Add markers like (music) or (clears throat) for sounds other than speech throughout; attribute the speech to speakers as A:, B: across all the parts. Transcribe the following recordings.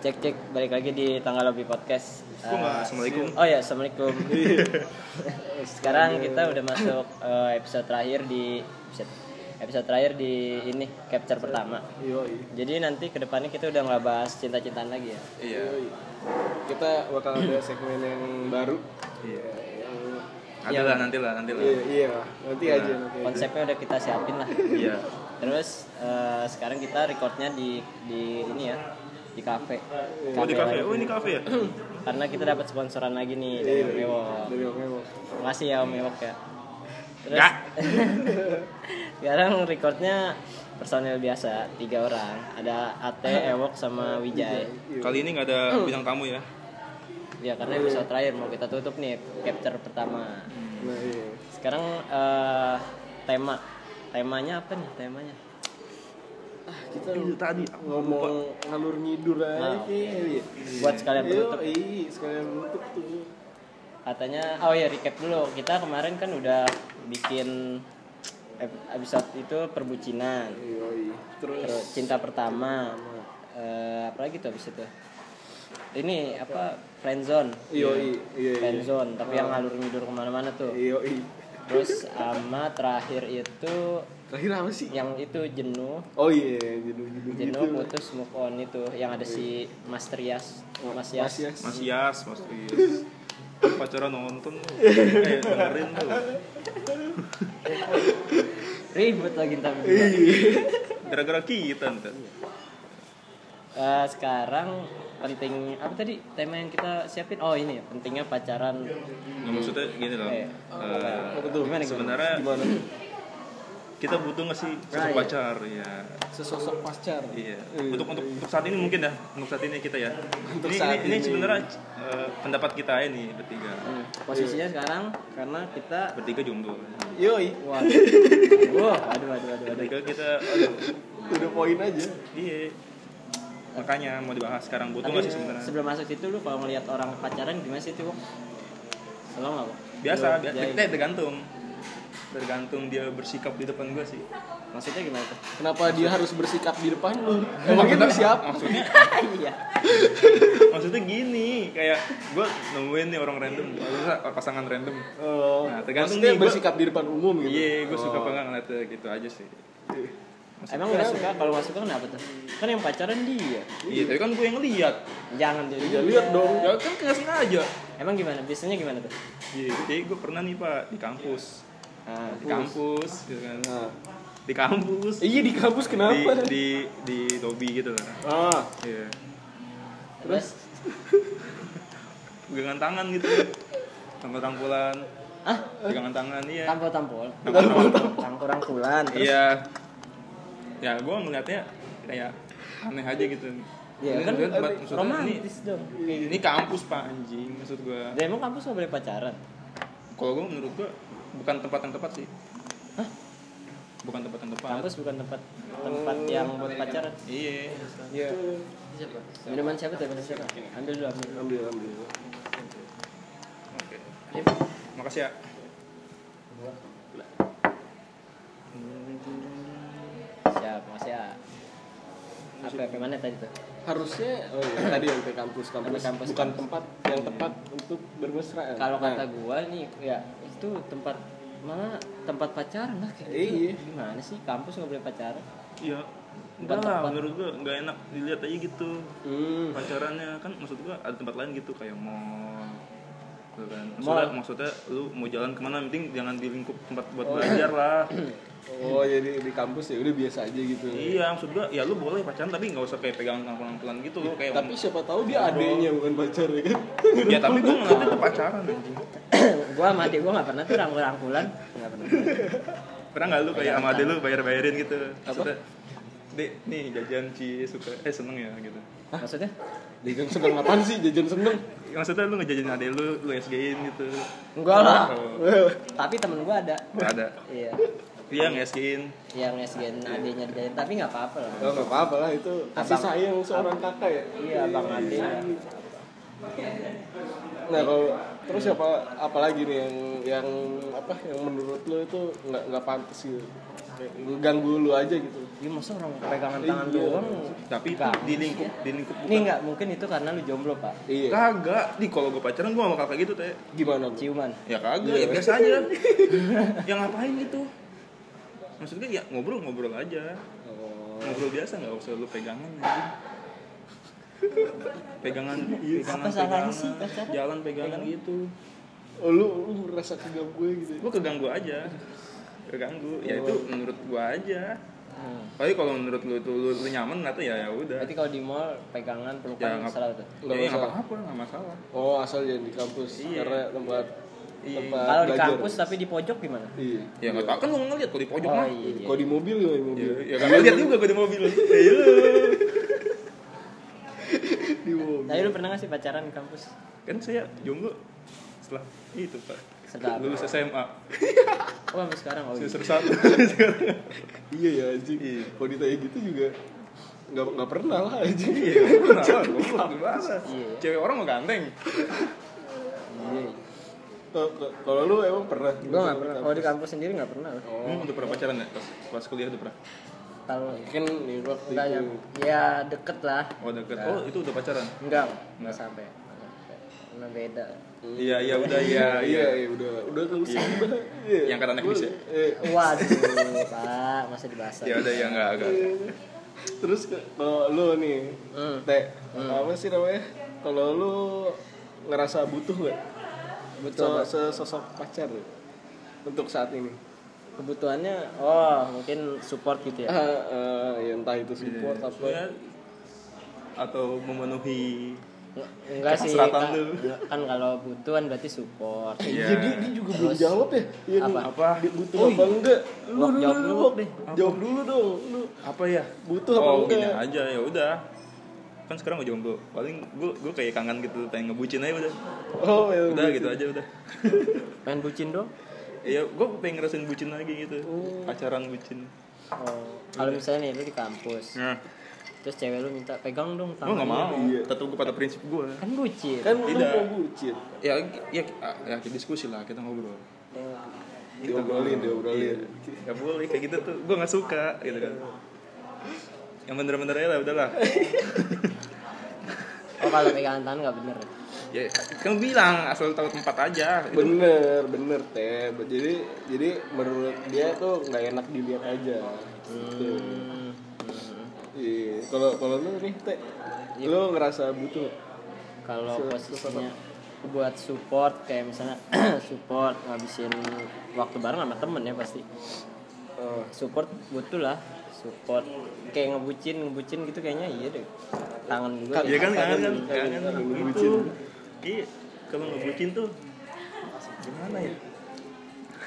A: cek cek balik lagi di tanggal lebih podcast
B: Gua nggak, Iya. assalamualaikum.
A: oh ya
B: (laughs)
A: assalamualaikum (laughs) sekarang kita udah masuk eh, episode terakhir di episode, episode terakhir di ini capture pertama
C: Yoi.
A: jadi nanti kedepannya kita udah nggak bahas cinta cintaan lagi ya
B: Iya.
C: Yoi. Kita bakal (clears throat) ada segmen yang baru. Iya. Yang
B: Nanti lah, nanti lah, nanti lah.
C: iya, iya lah. Nanti
B: Nah,
C: aja nanti. Aja.
A: konsepnya udah kita siapin lah
B: Iya.
A: terus eh, sekarang kita recordnya di di ini ya di kafe
B: Oh di
A: lagi.
B: kafe. Oh ini kafe ya.
A: karena kita dapat sponsoran lagi nih dari Om Ewok.
C: Dari Om Ewok.
A: Makasih ya Om Ewok ya.
B: Nggak.
A: (laughs) sekarang recordnya personil biasa tiga orang ada Ate Ewok sama Wijay
B: (clears throat) Kali ini nggak (clears throat) ada bintang tamu ya.
A: ya karena episode terakhir mau kita tutup nih capture pertama
C: Nah, iya.
A: sekarang eh, tema temanya apa nih temanya
C: Kita
B: Itu tadi.
C: ngomong ngalur ngidur aja
A: Nah, oke.
C: kayaknya.
A: buat sekalian penutup
C: Iya, sekalian nutup tuh.
A: katanya oh ya recap dulu kita kemarin kan udah bikin ep- episode itu perbucinan
C: Yoi. Terus
A: Terus cinta pertama. Eh, apa lagi tuh abis itu? Ini apa friendzone?
C: Yoi, iya, iya.
A: Friendzone, tapi yang ngalur ngidur kemana-mana tuh.
C: Yoi.
A: Terus sama terakhir itu
C: Terakhir apa sih?
A: yang itu jenuh,
C: Ya. Oh iya, jenuh-jenuh
A: jenuh
C: gitu.
A: putus move on itu yang ada si Mas Trias, Oh, Mas
C: Mas
A: Yas.
C: Yas.
B: Mas Yas, Mas Yas. Pacaran nonton lu. Eh, dengerin lu.
A: Ribut lagi ntar berdua.
C: Iya.
B: Gara-gara kita ntar.
A: Eh, sekarang penting apa tadi tema yang kita siapin? Oh ini ya, pentingnya pacaran.
B: Nggak maksudnya gini loh.
A: Eh,
B: Eh,
C: Apa tuh?
A: Gimana, gimana?
B: sebenarnya
C: Gimana?
B: kita butuh nggak sih
A: Nah,
B: sosok
A: iya.
B: pacar ya.
C: Sesosok pacar.
B: Iya. Untuk, untuk untuk saat ini mungkin ya. Untuk saat ini kita ya.
C: Untuk
B: ini
C: saat
B: ini, ini
C: ini.
B: sebenarnya eh, pendapat kita ini bertiga.
A: Hmm, Posisinya sekarang karena kita
B: Bertiga jomblo.
C: Yoi.
A: Waduh. Wah, aduh, aduh, aduh, aduh.
B: Bertiga kita aduh,
C: Udah poin aja.
B: Iya. Makanya mau dibahas sekarang butuh
A: Tapi
B: nggak sih sebenarnya?
A: sebelum masuk situ lu kalau ngelihat orang pacaran gimana sih tuh? Selalu nggak, Bok?
B: Biasa,
A: Lu
B: biasa.
A: jahit.
B: Kita tergantung. Tergantung dia bersikap di depan gue sih.
A: Maksudnya gimana tuh?
C: Kenapa dia harus bersikap di depan lu? Emangnya lu siapa?
B: Maksudnya,
A: (laughs) Iya.
B: maksudnya gini, kayak gue nemuin nih orang random, maksudnya pasangan random.
C: Oh,
B: Nah, tergantung
C: maksudnya
B: nih, gua-
C: bersikap di depan umum gitu.
B: Iya, gue suka
C: Oh.
B: banget ngeliatnya gitu aja sih.
A: Emang nggak suka kalau nggak suka kenapa tuh? Kan yang pacaran dia.
B: Iya, tapi kan gue yang lihat.
A: Jangan jadi
C: Ya lihat dong.
B: Ya kan nggak sengaja.
A: Emang gimana? Biasanya gimana tuh?
B: Iya, jadi gue pernah nih pak di kampus,
A: Nah,
B: di kampus, gitu kan.
C: Nah.
B: di kampus,
C: Eh, Iya di kampus
B: di
C: kenapa?
B: di di lobby gitu lah.
C: Ah,
B: Iya,
A: terus
B: pegangan tangan gitu, tangkul tangkulan,
A: ah
B: pegangan tangan iya.
A: tampol-tampol.
B: Nongkrong.
A: Tangkurang-kulan. Terus
B: Iya. Ya, gue melihatnya kayak aneh aja gitu.
A: ya
B: Ini
A: kan
B: maksudnya- maksudnya ini,
A: romantis dong.
B: ini kampus pak anjing maksud gue.
A: Dan emang kampus nggak boleh pacaran?
B: Kalau gue menurut gue bukan tempat yang tepat sih. Bukan tempat yang tepat.
A: Kampus bukan tempat tempat yang buat pacaran.
B: Iya.
C: iya.
A: Minuman siapa tuh? Minuman siapa? Ambil dulu, ambil.
C: Ambil ambil.
B: Oke. Makasih ya.
A: Siap, makasih ya. Apa apa mana tadi tuh?
C: Harusnya oh iya, (laughs) tadi yang ke kampus kampus, Iya.
A: Sampai kampus,
C: bukan
A: kampus.
C: tempat yang tepat untuk bermesraan.
A: Kalau
C: Nah,
A: kata gua nih, ya itu tempat mana tempat pacaran lah kayak
C: Iya.
A: gitu. Gimana sih kampus nggak boleh pacaran? (coughs)
B: Iya.
A: Bukan
B: Enggak lah,
A: tempat.
B: menurut gue nggak enak dilihat aja gitu
C: hmm.
B: pacarannya kan maksud gue ada tempat lain gitu kayak mall gitu kan maksudnya,
A: Mall.
B: maksudnya lu mau jalan kemana yang penting jangan di lingkup tempat buat belajar lah
C: Oh, jadi di kampus ya udah biasa aja gitu.
B: Iya, maksud gua ya lu boleh pacaran tapi nggak usah kayak pegang pelan-pelan gitu lo kayak
C: Tapi siapa tahu dia adanya bukan pacar ya kan? (laughs)
B: ya tapi gua ngeliatnya tuh pacaran anjing.
A: gua sama adik gua nggak pernah tuh rangkul-rangkulan, nggak pernah.
B: Pernah nggak lu kayak sama ade lu bayar-bayarin gitu? Maksudnya, Dek, nih jajan Ci suka eh seneng ya gitu.
A: Maksudnya?
C: Jajan seneng apaan sih? Jajan (laughs) seneng.
B: Maksudnya lu ngejajanin ade lu, lu SG-in gitu.
A: Enggak lah.
B: Oh,
C: Iya.
A: Tapi temen gua ada.
B: nggak ada.
A: Iya.
B: Iya nge-SG-in.
A: Yang SGN adiknya dijahit, tapi nggak apa-apa lah.
C: Oh, nggak apa-apa lah itu kasih
A: Abang-
C: sayang seorang kakak ya.
A: Iya, Bang Ade.
C: Nah kalau terus apa apalagi nih yang yang apa yang menurut lo itu nggak nggak pantas gitu Kayak ganggu lu aja gitu.
A: ya masa orang pegangan
C: Iya.
A: tangan doang
B: Tapi itu
A: Gak.
B: di lingkup di lingkup
A: ini
B: bukan.
A: enggak mungkin itu karena lu jomblo pak
C: Iya.
B: Kagak, di kalau gue pacaran gue sama kakak gitu teh.
C: Gimana? Bro?
A: ciuman
B: Ya kagak, ya biasa aja. (laughs) ya ngapain gitu? Maksudnya ya ngobrol-ngobrol aja.
C: Oh.
B: Ngobrol biasa nggak usah lu pegangan anjing. Pegangan, pegangan,
A: Apa salahnya
B: pegangan,
A: sih pacaran?
B: jalan pegangan gitu.
C: Oh, lu lu merasa keganggu gue gitu.
B: Gue keganggu aja. Keganggu, ya
C: Oh.
B: itu menurut gue aja.
A: Hmm.
B: Tapi kalau menurut lu itu lu, lu nyaman atau ya ya udah.
A: berarti kalau di mall pegangan
B: Ya,
A: pelukan
B: nggak-
A: salah tuh
B: Ya,
C: Nggak
B: ya, nggak
C: masalah.
B: apa-apa, nggak masalah.
C: Oh, asal jangan di kampus
B: Iya.
C: karena tempat
B: Iya.
C: tempat
A: kalau di
C: belajar.
A: kampus tapi di pojok gimana
C: Iya.
B: Ya nggak tahu kan lu ngeliat kalau di pojok
A: oh
B: mah.
A: iya, iya.
C: Kalau di mobil gimana di mobil?
B: Ya, ya kan lihat juga gue di mobil. Ya lu.
C: (laughs) di mobil.
A: tapi lu pernah nggak sih pacaran di kampus
B: Kan saya jomblo setelah itu pak.
A: Setelah apa?
B: Lulus SMA.
A: oh sampai sekarang oh iya.
B: Semester (laughs) satu.
C: Iya ya anjing.
B: Iya.
C: Kalau ditanya gitu juga nggak nggak pernah lah anjing.
B: Iya, pernah. Jomblo gimana?
A: Iya.
B: Cewek orang mau ganteng.
A: iya
C: Kalau- Kalau lu emang pernah?
A: gue nggak pernah kalau di kampus sendiri nggak pernah lah.
C: Oh.
B: Hmm, udah pernah pacaran ya? Pas, pas kuliah udah pernah.
A: tahu
C: Kan di waktu
A: enggak ya
C: itu.
A: ya deket lah
B: Oh deket. Oh itu udah pacaran.
A: enggak
B: Nggak.
A: nggak sampai Karena beda
B: Iya iya udah (laughs) iya iya.
C: iya, iya, udah, udah nggak usah dibahas. Iya.
B: Yang kata anak
C: Gua-
B: bis ya?
C: eh,
A: waduh (laughs) pak masa dibahas
B: Ya udah ya enggak enggak. enggak.
C: Terus ke- kalau lu nih,
A: Hmm.
C: teh, apa sih namanya? Kalau lu ngerasa butuh nggak?
A: Butuh apa?
C: Se- sesosok pacar untuk saat ini.
A: kebutuhannya oh mungkin support gitu ya
C: Ah,
A: Iya.
C: ah, ya entah itu support apa.
B: Ya, atau memenuhi
A: Nggak- enggak sih kan,
B: Keseratan lu.
A: kan kalau butuhan berarti support
C: Eh,
B: Iya.
C: Jadi dia juga belum
A: Terus,
C: jawab ya? Iya
A: apa?
C: nih,
B: Apa?
C: dia butuh
B: Oh,
C: apa
B: iya.
C: enggak? Lu
A: Wak,
C: dulu,
A: jawab
C: lu,
A: dulu,
C: Wak,
A: deh.
C: Jawab dulu dong. Lu
B: apa ya
C: Butuh apa
B: oh gini
C: enggak?
B: aja ya udah kan sekarang gue jomblo paling gue gue kayak kangen gitu pengen ngebucin aja udah
C: Oh, ya,
B: udah
C: butuh.
B: gitu aja udah
A: pengen bucin dong
B: ya gue pengen ngerasain bucin lagi gitu pacaran bucin
A: oh. kalau misalnya nih lu di kampus
B: nah
A: terus cewek lu minta pegang dong
B: gue nggak
A: tangannya."
B: mau
C: Iya.
B: tetap gue pada prinsip gue
A: kan bucin
C: Kan lu
B: Tidak.
C: mau bucin.
B: ya ya ya kita diskusi lah kita ngobrol
A: Gitu.
C: Diobrolin, diobrolin.
A: Iya.
B: Gak boleh kayak gitu tuh gue nggak suka gitu kan yang bener-bener aja lah udahlah
A: oh kalau pegangan tangan nggak bener ya?
B: ya kan gua bilang asal tahu tempat aja Itu
C: Bener, bener teh. Jadi jadi menurut dia tuh nggak enak dilihat aja. Gitu.
A: Hmm.
C: Iya. Kalau kalau lu nih teh,
A: Iya.
C: lu ngerasa butuh. nggak?
A: kalau
C: Se-
A: posisinya buat support kayak misalnya (clears throat) support ngabisin waktu bareng sama temen ya pasti
C: Oh,
A: support butuh lah support kayak ngebucin ngebucin gitu kayaknya iya deh tangan juga ya.
B: Iya
A: kayak-
B: kan kangen kan
C: kangen,
B: kangen
C: kangen
B: Itu.
C: bucin.
B: Iya, kalau nggak bucin tuh gimana ya?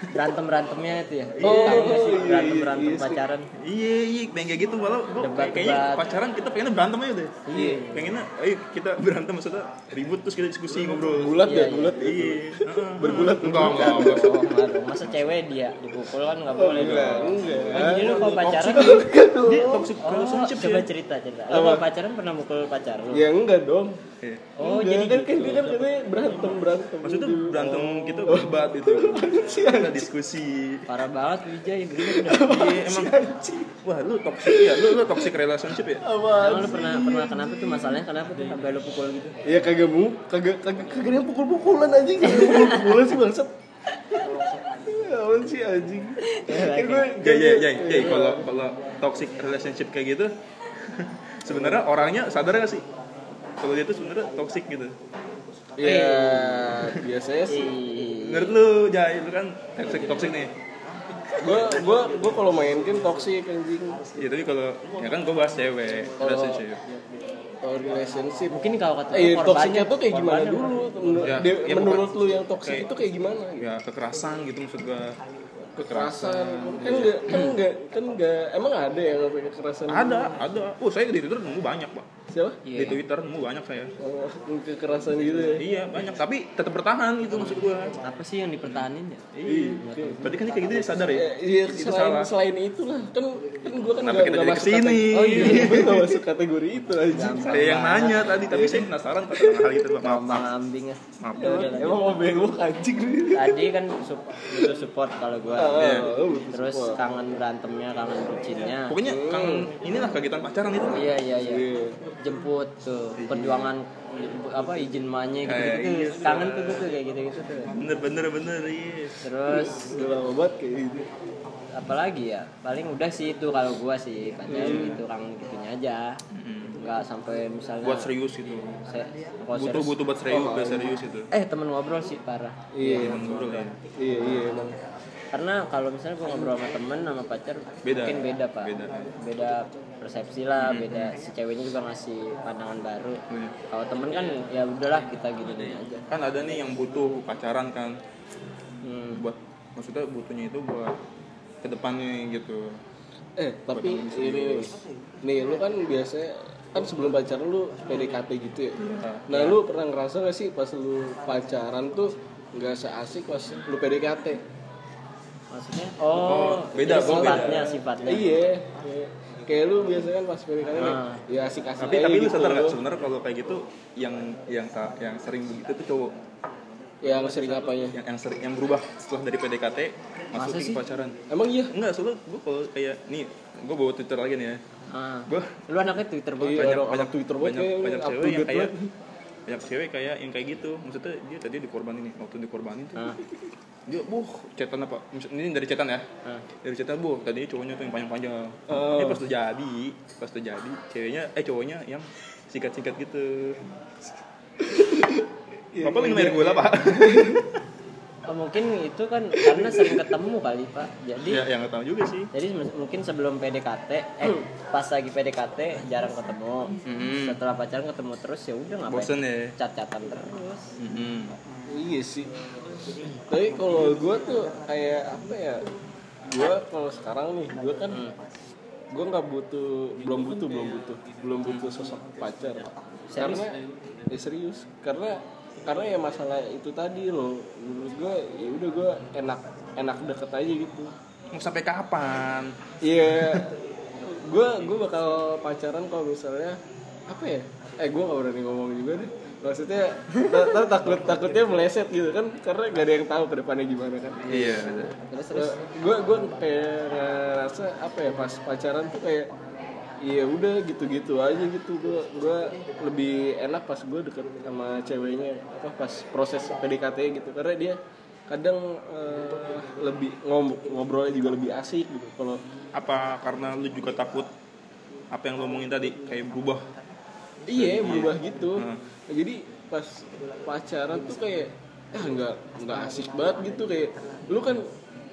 A: berantem berantemnya itu ya
C: Oh,
A: Tahu nggak sih
C: iya, iya,
A: berantem berantem
C: iya sih.
A: pacaran
B: Iya, iya, pengen kayak gitu malah gua
A: Debat,
B: kayak- kayaknya
A: debat.
B: pacaran kita pengennya berantem aja deh.
A: Iya.
B: Pengennya ayo kita berantem maksudnya ribut terus kita diskusi ngobrol.
C: Bulat
A: Iya,
C: ya,
A: iya.
C: bulat ya.
B: Iya. heeh.
C: Berbulat
B: enggak enggak enggak.
A: oh nggak dong masa cewek dia dipukul kan nggak boleh
C: Oh, Enggak,
A: dong
C: Iya. enggak.
A: Kan jadi lu kalau pacaran
B: Dia toxic
A: Oh,
B: relationship
A: coba
B: ya.
A: cerita cerita.
C: Apa?
A: Lu kalau pacaran pernah mukul pacar lu?
C: Ya enggak dong.
B: Iya.
A: Oh,
C: Enggak,
A: jadi
C: kan
A: gitu.
C: kan dia kan katanya berantem berantem.
B: Maksudnya
C: Gitu.
B: berantem gitu berdebat gitu. Kita diskusi.
A: Parah banget Wijay, bener dah.
B: Iya, emang wah lu toxic ya, lu lu toxic relationship ya.
A: Emang
C: Apaan?
A: lu pernah pernah kenapa tuh masalahnya kenapa tuh sampai lu pukul gitu?
C: Ya kagak mu, kagak kagak kagak ada yang pukul-pukulan anjing, kagak ada yang pukul-pukulan sih
A: (laughs)
C: bangsat. Ya, Apaan sih anjing?
A: Iya,
C: Kan gue
B: Ya ya ya, ya kalau kalau toxic relationship kayak gitu (laughs) sebenarnya orangnya sadar gak sih? Kalau dia tuh sebenarnya toxic gitu.
C: Ya, biasanya sih.
B: Menurut lu, Jai, lu kan toxic, toxic nih.
C: Gue gue gue kalau main game toxic anjing.
B: Ya tapi kalau ya kan gua bahas cewek, relationship.
C: Kalau relationship
A: Mungkin kalau kata
C: Eh,
A: korbannya-
C: toksiknya tuh kayak gimana
A: korbannya
C: dulu?
A: pernah.
C: Menur-
B: Ya,
C: dia-
B: ya,
C: menurut lu yang toksik
B: kayak-
C: itu kayak gimana?
B: Ya kekerasan gitu maksud gua.
C: Kekerasan kan enggak kan enggak kan enggak emang ada yang sampai kekerasan?
B: Ada, ada. Oh, saya di Twitter nemu banyak, Pak.
C: Siapa?
A: Iya,
B: di Twitter mu banyak saya
C: Oh, kekerasan gitu ya.
B: iya banyak tapi tetap bertahan gitu maksud gua
A: Apa sih yang dipertahanin ya?
B: iya berarti kan kayak gitu ya sadar ya
C: Eh, Iya,
B: Itu salah.
C: selain selain itulah kan kan gua kan
B: Kenapa
C: nggak
B: kita
C: nggak
B: jadi
C: masuk
B: kesini?
C: kategori. Oh
B: (laughs)
C: iya, gua nggak masuk kategori itu anjing.
B: saya yang nanya tadi tapi saya penasaran tentang hal itu maaf
A: Bang
B: maaf
A: ambing ya.
B: maaf
A: Udah, lanjut.
C: Iya, Emang mau bengok anjing nih.
A: Tadi kan sup- butuh support kalau gua.
B: Iya.
C: Ah, lu butuh
A: Terus
C: support.
A: kangen berantemnya, kangen bucinnya.
B: pokoknya kangen inilah kegiatan pacaran itu
A: Iya iya iya.
C: Iya.
A: Jemput tuh perjuangan apa izin manye gitu,
B: Eh,
A: -gitu
B: iya.
A: tuh. Kangen tuh gua tuh kayak gitu-gitu tuh.
B: bener bener bener iya
A: Terus
C: Udah lama banget kayak gitu.
A: apalagi ya? Paling udah sih itu kalau gua sih kadang
B: Hmm.
A: gitu kangen gitunya aja.
B: Mm-mm.
A: Enggak sampai misalnya
B: buat serius gitu
A: se- kalau
B: butuh
A: serius-
B: butuh buat serius buat serius itu
A: Eh temen ngobrol sih parah.
C: Iya,
B: Temen ngobrol ya
C: iya, iya emang.
A: karena kalau misalnya gue ngobrol sama temen sama pacar
B: Beda.
A: mungkin beda pak
B: Beda. Hmm.
A: Beda persepsi lah beda si ceweknya juga ngasih pandangan baru
B: Iya.
A: kalau temen kan ya udahlah kita gitu aja
B: kan ada nih yang butuh pacaran kan
A: hmm.
B: buat maksudnya butuhnya itu buat kedepannya gitu
C: Eh, tapi ini nih lu kan biasanya kan sebelum pacaran lu PDKT gitu
A: Iya.
C: ya. Nah, lu pernah ngerasa gak sih pas lu pacaran tuh nggak seasik pas lu PDKT?
A: maksudnya oh,
B: beda,
A: jadi
B: gua beda.
A: sifatnya sifatnya
C: Iya. iya. Kayak lu biasanya kan pas PDKT nih,
A: Ah.
C: ya asik-asik
B: tapi
C: aja
B: tapi lu
C: gitu.
B: sadar nggak sebenarnya kalau kayak gitu yang yang sa- yang sering begitu tuh cowok
C: Yang Ya, sering apanya?
B: yang yang sering yang berubah setelah dari PDKT masuk
A: Masa
B: ke
A: sih?
B: pacaran
C: Emang iya?
B: enggak soalnya gue kalau kayak nih gue bawa Twitter lagi nih ya
A: Ah.
B: gue
A: lu anaknya twitter banget
C: Iya,
B: banyak
C: orang-
B: banyak
C: orang Twitter banget
B: banyak
C: kayak
B: banyak
C: up to
B: cewek yang
C: date
B: kayak
C: banget.
B: banyak cewek kayak yang kayak gitu maksudnya dia tadi dikorbanin nih waktu dikorbanin tuh
A: Ah.
B: dia buh cetan apa Mis- ini dari cetan ya
A: Ah.
B: dari cetan buh tadinya cowoknya tuh yang panjang-panjang
C: Oh.
B: ini pas tuh jadi pas tuh jadi ceweknya eh cowoknya yang singkat-singkat (laughs) gitu Bapak lagi ngeliat gue lah pak
A: Oh, mungkin itu kan karena sering ketemu kali pak jadi
B: Ya yang gak tau juga sih
A: Jadi se- mungkin sebelum PDKT, eh pas lagi PDKT jarang ketemu.
B: Hmm.
A: Setelah pacaran ketemu terus ya udah ngapain?
B: Bosen ya
A: Cat-catan terus.
B: Mm-mm.
C: Iya sih. Tapi kalau gue tuh kayak apa ya? Gue kalau sekarang nih, gue kan gue nggak butuh, belum butuh, belum butuh, belum butuh sosok pacar.
A: Serius?
C: Karena eh, serius, karena karena ya masalah itu tadi loh. Menurut gue, ya udah gue enak enak deket aja gitu.
B: Mau sampai kapan?
C: Iya. gue gue bakal pacaran kalau misalnya apa ya? Eh gue gak berani ngomong juga deh. Maksudnya ta- ta- takut takutnya meleset gitu kan karena gak ada yang tahu ke depannya gimana kan.
B: Iya
A: Terus terus.
C: Gue gue kayak ngerasa apa ya pas pacaran tuh kayak Iya udah gitu-gitu aja gitu gue gua lebih enak pas gue deket sama ceweknya apa pas proses PDKT gitu karena dia kadang eh, lebih ngom- ngobrolnya juga lebih asik gitu kalau
B: Apa karena lu juga takut apa yang lu omongin tadi kayak berubah?
C: Iya berubah gitu.
B: Hmm.
C: Nah, jadi pas pacaran tuh kayak ah nggak nggak asik banget gitu kayak lu kan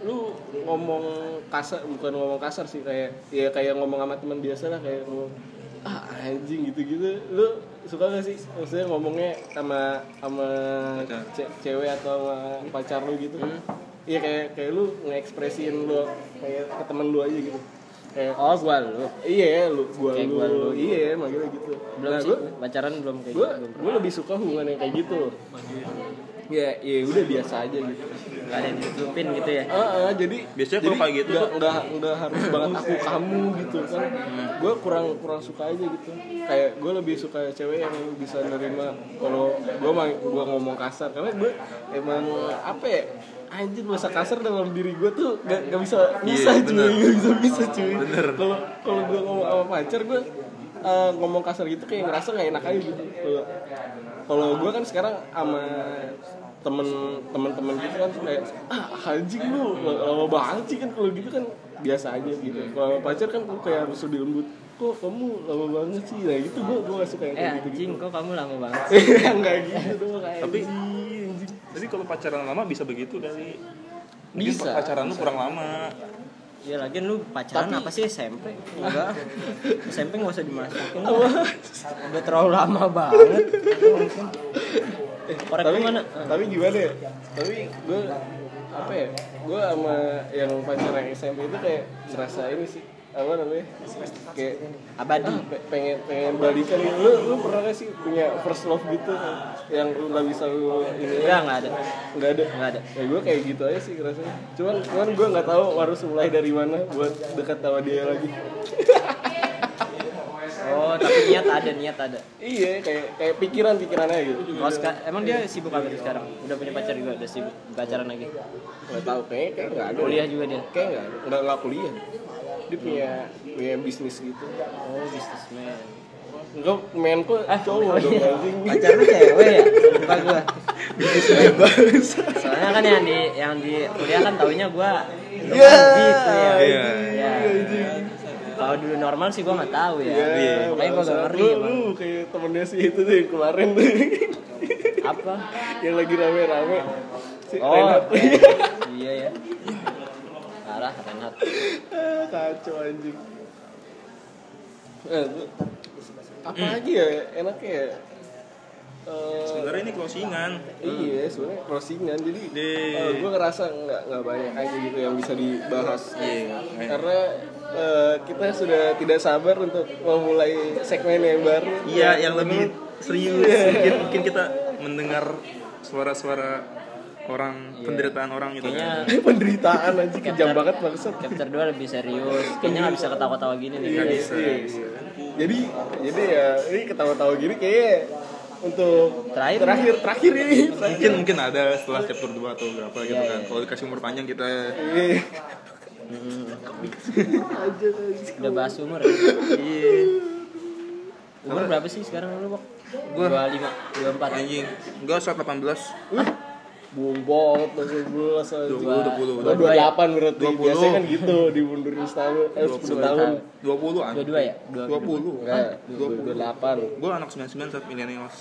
C: lu ngomong kasar bukan ngomong kasar sih kayak ya kayak ngomong sama teman biasa lah kayak ngomong ah anjing gitu gitu lu suka gak sih maksudnya ngomongnya sama sama
B: Pacar.
C: ce- cewek atau sama pacar lu gitu
A: Hmm.
C: iya kayak kayak lu ngekspresiin lu kayak ke temen lu aja gitu kayak
A: Oh gua lu.
C: iya lu gua
A: Kayak
C: lu,
A: gua lu.
C: iya manggilnya gitu
A: Belum
C: nah,
A: sih.
C: gua-
A: Pacaran belum kayak
C: gue
A: gitu.
C: gue lebih suka hubungan yang kayak gitu loh. ya ya udah biasa aja gitu
A: Gak ada yang ditutupin gitu ya.
C: Ah, ah, jadi
B: Biasanya kalau
C: jadi
B: kayak gitu
C: nggak nggak nggak
B: (laughs)
C: harus banget aku kamu gitu kan
B: Hmm.
C: gue kurang kurang suka aja gitu kayak gue lebih suka cewek yang bisa nerima kalau gue mah gue ngomong kasar karena gue emang apa ya anjir bahasa kasar dalam diri gue tuh gak, gak bisa bisa
B: Iya,
C: cuy
B: bener.
C: gak bisa bisa cuy
B: Bener.
C: kalau kalau gue ngomong sama pacar gue eh, ngomong kasar gitu kayak ngerasa nggak enak aja gitu Kalau- kalau gue kan sekarang sama temen temen temen gitu kan kayak ah anjing lu l- lama banget sih kan kalau gitu kan biasa aja gitu kalau sama pacar kan lu kayak harus lebih lembut kok kamu lama banget sih nah gitu gue gue gak suka yang
A: Eh
C: kayak gitu
A: anjing kok kamu lama banget.
C: (laughs) nggak gitu doang kayak
B: Tapi Iya, tapi kalau pacaran lama bisa begitu kali. Mungkin
C: Bisa,
B: Pacaran lu kurang lama.
A: Ya lagian lu pacaran apa sih SMP? Enggak. SMP enggak usah dimasukin. Udah terlalu lama banget. Korek
C: tapi,
A: lu mana?
C: tapi gimana ya? Tapi gue apa ya? Gue sama yang pacar yang SMP itu kayak ngerasa ini sih apa namanya kayak
A: Eh, abadi
C: ah, pe- pengen pengen balikan gitu. lu lu pernah gak sih punya first love gitu yang lu nggak bisa lu ini
A: enggak nggak ada
C: nggak ada
A: nggak ada
C: ya gue kayak gitu aja sih rasanya cuman cuman gue nggak tahu harus mulai dari mana buat dekat sama dia lagi
A: oh tapi niat ada niat ada
C: iya kayak kayak pikiran pikirannya gitu
A: Kalau seka- emang dia sibuk apa tuh sekarang? Udah punya pacar juga, udah sibuk pacaran lagi.
C: nggak tahu kayak kayak nggak ada
A: Kuliah juga dia.
C: kayak nggak nggak nggak kuliah dia
A: Iya.
C: punya punya bisnis gitu
A: Oh, bisnismen.
C: enggak mainku
A: Ah,
C: cowok dong anjing
A: Pacar lu cewek ya? Lupa gua. Bisnismen. Soalnya kan yang di yang di kuliah kan taunya gua
C: Iya.
A: gitu ya.
B: Iya.
A: Iya. Kalau dulu normal sih gua nggak tahu ya.
C: Iya,
A: Makanya gua gak
C: bangsat.
A: ngerti
C: Lu,
A: emang.
C: lu kayak temennya si itu tuh yang kemarin tuh (laughs)
A: Apa?
C: yang lagi rame-rame si
A: Oh,
C: Renat
A: iya ya. Parah Renat.
C: Ah, (laughs) kacau anjing eh, tuh. apa lagi ya enaknya ya Eh,
B: Sebenarnya ini closingan.
C: Iya, sebenarnya crossingan jadi
B: Di-
C: gue ngerasa nggak nggak banyak aja gitu yang bisa dibahas.
B: Iya.
C: Karena eh, kita sudah tidak sabar untuk memulai segmen yang baru.
B: Iya, yang lebih serius sedikit mungkin kita mendengar suara-suara orang penderitaan orang gitu
A: Kayaknya
B: kan.
C: (laughs) penderitaan aja kejam
A: Capture-
C: banget maksud.
A: Chapter 2 lebih serius. Kayaknya nggak bisa ketawa-ketawa gini nih.
B: Nggak bisa.
C: Iya, Jadi jadi ya ini ketawa-tawa gini kayak untuk
A: Terakhir.
C: terakhir terakhir ini. Terakhir.
B: Mungkin mungkin ada setelah chapter 2 atau berapa gitu
A: Iya,
B: kan.
A: iya.
B: Kalau dikasih umur panjang kita
C: Iya.
A: Udah bahas umur ya?
B: iya
A: Umur berapa sih sekarang lu, Bok?
B: Gua?
A: 25, 24
B: anjing. Enggak saat 18.
C: Bombot, masih belas aja.
B: 20
C: Udah
B: 20.
C: 28 berarti
B: 20.
C: biasanya kan gitu dimundurin setahun eh 10 tahun
B: 20 an.
A: 22 ya?
B: 20.
C: enggak
B: 20.
C: 28
B: Gue anak 99 saat millennials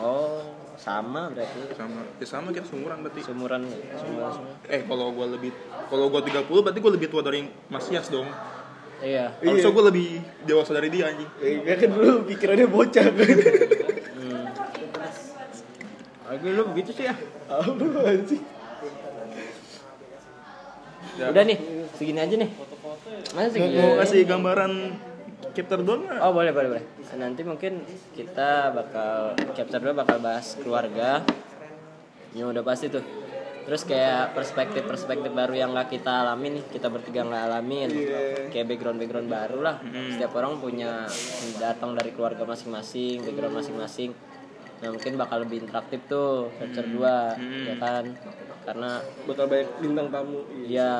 A: Oh, sama berarti
B: sama ya sama kita seumuran berarti.
A: seumuran ya? semua semua.
B: Eh kalau gue lebih kalau gue 30 berarti gue lebih tua dari Mas Yas dong.
A: Iya.
B: Harusnya gue lebih dewasa dari dia anjing.
C: Eh, dia kan dulu pikirannya bocah kan
A: Lagi lu begitu sih ya.
C: apa anjing
A: Udah nih, segini aja nih. Masa segini?
B: Mau kasih gambaran chapter 2 nggak?
A: Oh, boleh boleh boleh. Nanti mungkin kita bakal chapter 2 bakal bahas keluarga. Ya udah pasti tuh. Terus kayak perspektif-perspektif baru yang nggak kita alamin, kita bertiga nggak alamin. Kayak background-background baru lah. Setiap orang punya datang dari keluarga masing-masing, background masing-masing. Nah mungkin bakal lebih interaktif tuh chapter 2 ya kan? Karena
C: bakal banyak bintang tamu iya.
A: Iya,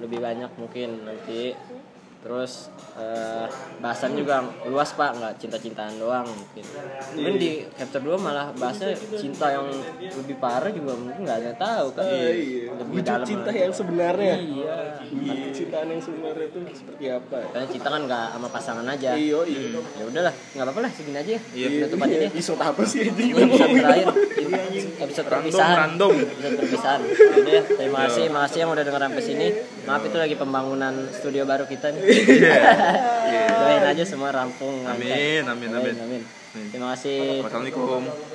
A: lebih banyak mungkin nanti. Terus eh, bahasan juga luas pak, nggak cinta-cintaan doang mungkin. Mungkin di
C: Iya.
A: chapter 2 malah bahasnya cinta yang lebih parah juga mungkin nggak ada yang tahu kan.
C: iya.
A: Lebih
C: wujud
A: dalam
C: cinta
A: lagi.
C: yang sebenarnya
A: Iya.
C: Wujud cintaan yang sebenarnya itu seperti apa ya?
A: Karena cinta kan nggak sama pasangan aja.
C: iya iya
A: Ya udahlah, nggak apa-apa lah segini aja ya.
B: Iya.
A: Penutup aja deh.
C: Isot apa sih anjing
A: Ini episode terakhir, ini
C: Iya.
A: episode
B: Random,
A: perpisahan.
B: random.
A: Episode perpisahan. Udah, ya, terima
B: Iya.
A: kasih, makasih yang udah denger sampai sini. Maaf itu lagi pembangunan studio baru kita nih. (laughs) Doain aja semua rampung. lancar.
B: Iya. Amin, amin, amin.
A: Amin, amin. Terima kasih.
B: Assalamualaikum.